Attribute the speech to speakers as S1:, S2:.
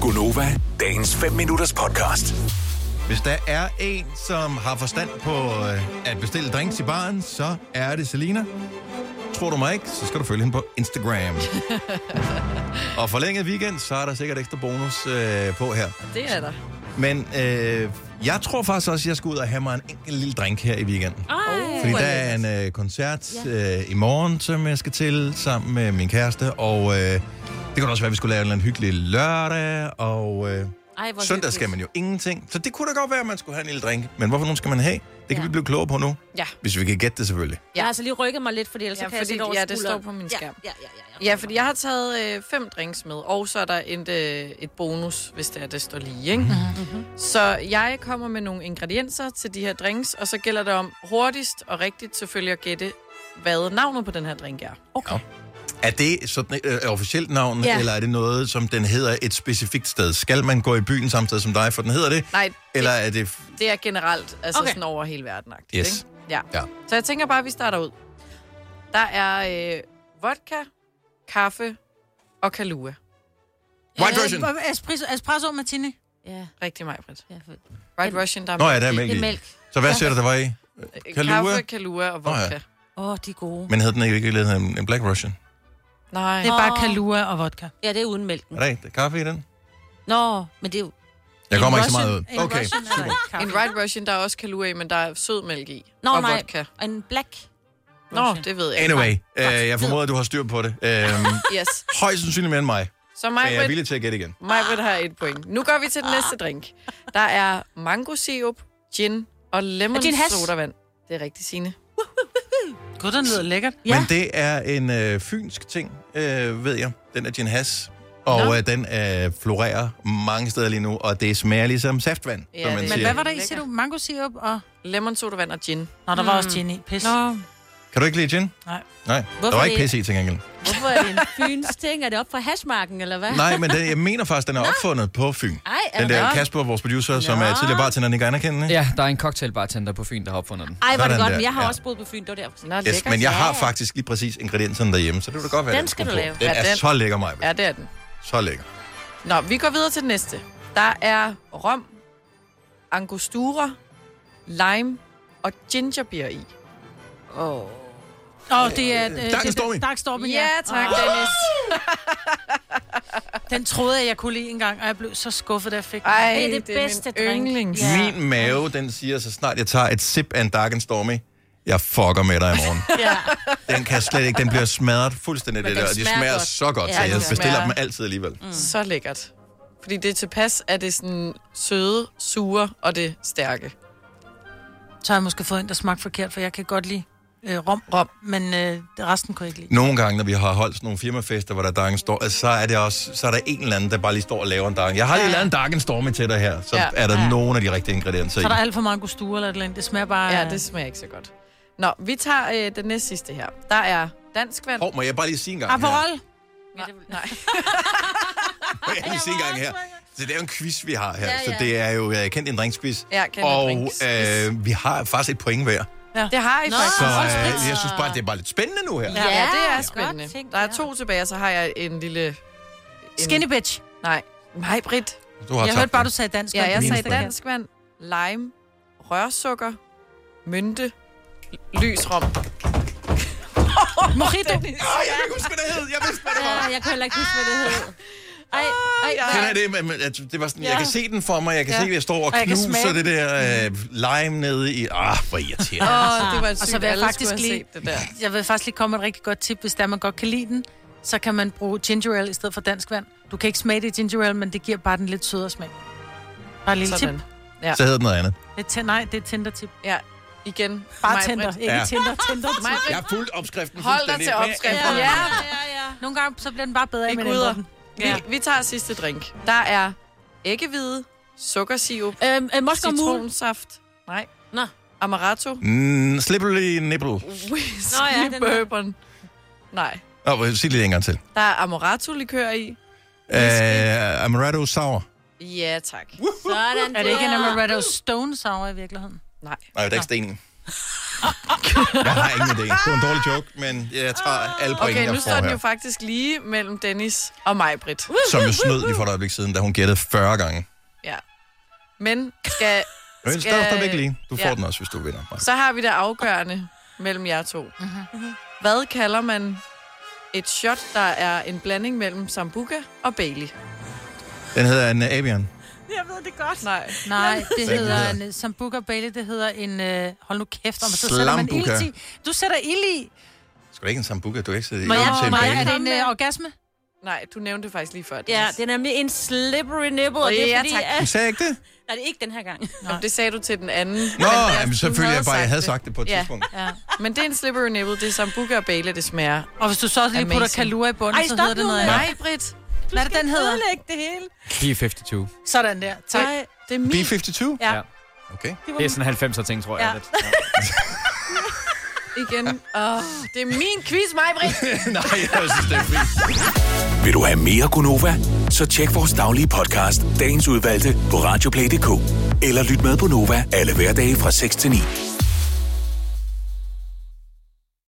S1: Gunova, dagens 5 minutters podcast.
S2: Hvis der er en, som har forstand på øh, at bestille drinks i baren, så er det Selina. Tror du mig ikke, så skal du følge hende på Instagram. og forlænget weekend, så er der sikkert ekstra bonus øh, på her.
S3: Det er der.
S2: Men øh, jeg tror faktisk også, at jeg skal ud og have mig en enkelt lille drink her i weekenden.
S3: Ej,
S2: Fordi
S3: hvor
S2: der
S3: er
S2: er en øh, koncert øh, i morgen, som jeg skal til sammen med min kæreste. Og øh, det kunne også være, at vi skulle lave en eller anden hyggelig lørdag. Og øh,
S3: Ej, hvor
S2: søndag
S3: hyggeligt.
S2: skal man jo ingenting. Så det kunne da godt være, at man skulle have en lille drink. Men hvorfor nogen skal man have? Det kan ja.
S3: Ja.
S2: vi blive klogere på nu.
S4: Ja.
S2: Hvis vi kan gætte det selvfølgelig.
S3: Jeg har altså lige rykket mig lidt, fordi ellers
S4: Ja,
S3: ja, kan
S4: fordi-
S3: jeg over
S4: ja, det
S3: skulderen.
S4: står på min skærm.
S3: Ja, ja, ja. ja,
S4: Ja, fordi jeg har taget øh, fem drinks med, og så er der et, øh, et bonus, hvis det er, det står lige, ikke?
S3: Mhm.
S4: Mm-hmm. Så jeg kommer med nogle ingredienser til de her drinks, og så gælder det om hurtigst og rigtigt selvfølgelig at gætte, hvad navnet på den her drink er.
S3: Okay.
S2: Er det sådan et øh, officielt navn, ja.
S3: Ja.
S2: eller er det noget, som den hedder et specifikt sted? Skal man gå i byen samme sted som dig, for den hedder det?
S4: Nej,
S2: Eller
S4: eller...
S2: er det...
S4: det, det er generelt, altså
S3: Okay.
S4: okay. sådan over hele verden.
S2: Yes.
S4: Ikke? Ja.
S2: Ja.
S4: Så jeg tænker bare, at vi starter ud. Der er øh, vodka, kaffe og kalua.
S2: White version.
S5: Espresso, espresso martini.
S3: Ja,
S4: Rigtig meget, Britt.
S3: ja, for-
S4: Right Russian, der er
S2: Nå ja, der er
S3: det
S2: mælk
S3: er
S2: i.
S3: mælk.
S2: Så hvad siger du, der var i? Kahlua?
S4: kaffe, kalua og
S2: Nå ja.
S4: vodka.
S5: Åh, oh, de er gode.
S2: Men hed den ikke i virkeligheden en- en Black Russian?
S4: Nej.
S5: Det er bare
S3: Åh.
S5: kalua og vodka.
S3: Ja, det er uden mælken.
S2: Er der ikke kaffe i den?
S3: Nå, men det er jo...
S2: Jeg
S5: En
S2: kommer ikke så meget ud.
S5: Russian- en
S2: Okay,
S5: Russian er
S2: super.
S5: kaffe.
S4: En Right Russian, der er også kalua i, men der er sødmælk i.
S3: Nå,
S4: og
S3: nej.
S4: vodka.
S3: En black.
S4: Nå, det ved jeg. ikke.
S2: Anyway, øh, jeg formoder, at du har styr på det. Øhm,
S4: Yes.
S2: højst sandsynligt mere end mig,
S4: Så
S2: men jeg er
S4: mig
S2: villig til at gætte igen.
S4: vil have et point. Nu går vi til den næste drink. Der er mango sirup, gin og lemon
S3: Og gin hash.
S4: sodavand. Det er rigtigt, Signe.
S5: Gud, den lyder lækkert.
S2: Ja. Men det er en øh, fynsk ting, øh, ved jeg. Den er gin has. Og øh, den øh, florerer mange steder lige nu, og det smager ligesom saftvand,
S4: Ja,
S2: som man
S4: det-
S5: Men
S2: siger.
S5: hvad var der i, siger
S4: Lækkert.
S5: du? Mango sirup og...
S4: Lemon sodavand og gin.
S5: Nå, der var også gin i. Pis.
S3: Nå,
S2: Kan du ikke lide gin?
S5: Nej.
S2: Nej, der var
S3: det
S2: ikke
S3: ikke?
S2: pisse i til gengæld.
S3: hvorfor er det en fyns ting? Er det op fra hashmarken, eller hvad?
S2: Nej, men den, jeg mener faktisk, den er opfundet på Fyn.
S3: Ej, er
S2: Den
S3: det
S2: der
S3: nok?
S2: Kasper, vores producer, som
S3: Nå.
S2: er tidligere bartender, den ikke anerkendende.
S6: Ja, der er en cocktailbartender på Fyn, der har opfundet den.
S3: Ej, var
S2: Sådan
S3: det godt,
S2: der,
S3: men jeg har
S2: ja.
S3: også boet på Fyn, det var derfor.
S4: Nå,
S2: Yes,
S4: lækkert.
S2: men jeg har
S3: Ja.
S2: faktisk lige præcis ingredienserne derhjemme, så det vil da godt være,
S3: Den
S2: jeg
S3: skal
S2: skulle
S3: du
S2: på.
S3: lave.
S2: Den er
S4: Ja, den-
S2: så lækker, mig.
S4: Ja, det er den.
S2: Så lækker.
S4: Nå, vi går videre til den næste. Der er rom, angostura, lime og gingerbeer i.
S3: Åh.
S5: Åh, oh, det er... Øh, det er-
S2: Stormy.
S5: Dark Stormy,
S4: Ja, tak,
S5: Åh,
S4: Dennis.
S5: Den troede jeg, jeg kunne lide engang, og jeg blev så skuffet, da jeg fik den.
S4: Ej,
S3: Det er det bedste
S4: min
S3: drink.
S4: yndlings.
S3: Ja.
S2: Min mave, den siger, så snart jeg tager et sip af en Dark and Stormy, jeg fucker med dig i morgen.
S5: Ja.
S2: Den kan slet ikke, den bliver smadret fuldstændig, det
S3: den
S2: der, og de
S3: smager
S2: smager
S3: godt.
S2: så godt,
S3: Ja,
S2: så
S3: den
S2: jeg
S4: smager-
S2: bestiller dem altid alligevel.
S4: Så lækkert. Fordi det er tilpas, at det er sådan søde, sure og det stærke.
S5: Så har jeg måske fået en, der smagte forkert, for jeg kan godt lide øh, rom, rom, men øh, resten kunne jeg ikke lide.
S2: Nogle gange, når vi har holdt sådan nogle firmafester, hvor der er Dark and Stormy, så er, det også, så er der en eller anden, der bare lige står og laver en Dark. Jeg har lige lavet en Dark and Stormy til dig her, så
S4: Ja.
S2: er der nogle af de rigtige ingredienser i.
S5: Så er der alt for mange gosture eller et eller andet. Det smager bare...
S4: Ja, det smager ikke så godt. Nå, vi tager øh, den næste sidste her. Der er dansk vand.
S2: Hov, må jeg bare lige sige en gang her?
S5: Aperol.
S4: Nej,
S2: Må jeg lige sige en gang her? Så det er jo en quiz, vi har her, ja,
S3: Ja,
S2: ja. så
S3: ja.
S2: det er jo øh, kendt en drinkquiz.
S4: Ja, kendt en
S2: og
S4: drinksquiz.
S2: øh, vi har faktisk et point hver.
S4: det har I faktisk.
S2: Så
S5: Nå.
S2: øh, jeg synes bare, det er bare lidt spændende nu her.
S4: Ja, ja, det er
S3: godt
S4: spændende.
S3: tænkt,
S4: der er
S3: ja.
S4: to tilbage, og så har jeg en lille... En...
S5: Skinny bitch.
S4: Nej, nej, Britt.
S2: Du har
S5: Jeg
S2: tabt
S5: hørte bare,
S2: den.
S5: du sagde dansk.
S4: Ja, jeg
S2: Min
S4: sagde
S2: favorit.
S4: dansk vand, lime, rørsukker, mynte, lys rom.
S2: Ej,
S5: Mojito.
S2: jeg kan ikke huske, hvad det hed. Jeg vidste, hvad det
S3: Ja,
S2: var.
S3: jeg kan heller ikke huske, hvad det hed. Ej, ej,
S4: ja.
S2: Kender I det, men- men at det var sådan, jeg kan se den for mig, jeg kan se, at jeg står og
S5: Og jeg kan
S2: knuser
S5: smage
S2: det der øh, lime nede i. Ah, hvor irriterende.
S4: Åh, det var sygt,
S5: Og så vil jeg
S4: alle skulle
S5: faktisk
S4: have
S5: lige-
S4: set det der.
S5: Jeg vil faktisk lige komme med et rigtig godt tip, hvis der man godt kan lide den. Så kan man bruge ginger ale i stedet for dansk vand. Du kan ikke smage det i ginger ale, men det giver bare den lidt sødere smag. Bare et lille Sådan.
S4: Sådan.
S5: tip.
S2: Så hed den noget andet.
S5: Et t- nej, det er et Tinder-tip.
S4: Ja, igen.
S5: Bare
S4: Maj-Brit.
S5: Tinder, ikke
S2: Ja.
S5: ja. Tinder, Tinder.
S2: Jeg har fulgt opskriften
S4: Hold dig til opskriften. Ja.
S3: ja, ja.
S5: Nogle gange, så bliver den bare bedre,
S4: Vi
S5: end man
S4: guder.
S5: ændrer den.
S4: ja. Vi, vi tager sidste drink. Der er æggehvide, sukkersirup,
S3: Øhm, øh, Moscow Mule.
S4: citronsaft, nej,
S3: Nå.
S4: amaretto,
S2: Mm, slippery nipple.
S3: Nå ja,
S4: whisky,
S3: den der.
S4: bourbon. Nej,
S2: Nå, oh, sig det lige en gang til.
S4: der er amaretto-likør i.
S2: Uh, amaretto sour.
S4: Ja, tak.
S3: Sådan
S5: Er det ikke en
S3: der.
S5: Ah! Amaretto Stone Sour i virkeligheden?
S4: Nej.
S2: Nej, der er ikke sten i. Jeg har ingen idé. Det var en dårlig joke, men jeg tager alle point,
S4: Okay,
S2: jeg
S4: nu
S2: får
S4: står den
S2: her.
S4: jo faktisk lige mellem Dennis og mig, Britt.
S2: Som jo snød lige for et øjeblik siden, da hun gættede 40 gange.
S4: Ja. Men skal,
S2: Men Skal...
S4: Skal-
S2: stadigvæk lige. Du får ja.
S4: Ja.
S2: den også, hvis du vinder. Maja.
S4: så har vi det afgørende mellem jer to.
S3: Mm-hmm.
S4: Hvad kalder man et shot, der er en blanding mellem Sambuca og Bailey?
S2: Den hedder en uh, Avian.
S3: Jeg ved det godt.
S4: Nej.
S5: Nej, det
S2: Hvad
S5: hedder
S2: hedder
S5: en, som Booker Bailey, det hedder en, øh, hold nu kæft, om så sætter man
S2: Slambuka.
S5: ild i. Du sætter ild i.
S2: Skal du ikke en sambuca? Du er ikke siddet i
S3: Må jeg-
S2: til en
S3: må
S5: Maja,
S3: jeg-
S5: er
S2: baby.
S5: det en øh, orgasme?
S4: Nej, du nævnte det faktisk lige før.
S3: Ja,
S4: Dennis.
S3: det er nemlig en slippery nipple, og det er
S4: Ja,
S3: fordi...
S4: tak.
S3: At...
S2: Du sagde ikke det?
S3: Nej, det er ikke den her gang.
S4: Jamen, det sagde du til den anden.
S2: Nå,
S4: Men jeg-
S2: jamen,
S4: du
S2: selvfølgelig jeg
S4: havde
S2: bare, jeg
S4: sagt
S2: havde sagt det på et
S4: Ja.
S2: tidspunkt.
S5: Ja.
S4: Men det er en slippery nipple, det er Sambuca og Bailey, det smager.
S5: Og hvis du så også lige putter
S4: Amazing.
S5: kalua i bunden,
S3: Ej,
S5: så
S3: stop
S5: hedder det
S3: nu,
S5: noget
S3: Maja.
S5: andet.
S4: Nej, Britt.
S5: Hvad er det, den hedder?
S3: Ødelægge det hele.
S6: P52.
S5: Sådan der. Tak.
S4: Nej, det er min.
S2: B-52?
S3: Ja.
S6: Ja.
S2: Okay.
S6: Det er sådan 90'er ting, tror jeg.
S3: Ja.
S6: Ja. Lidt. Ja.
S4: igen. Oh, det er min quiz, mig, Britt.
S2: Nej, jeg synes, det er fint.
S1: Vil du have mere Gunova? Så tjek vores daglige podcast, dagens udvalgte, på radioplay.dk. Eller lyt med på Nova alle hverdage fra 6 til 9.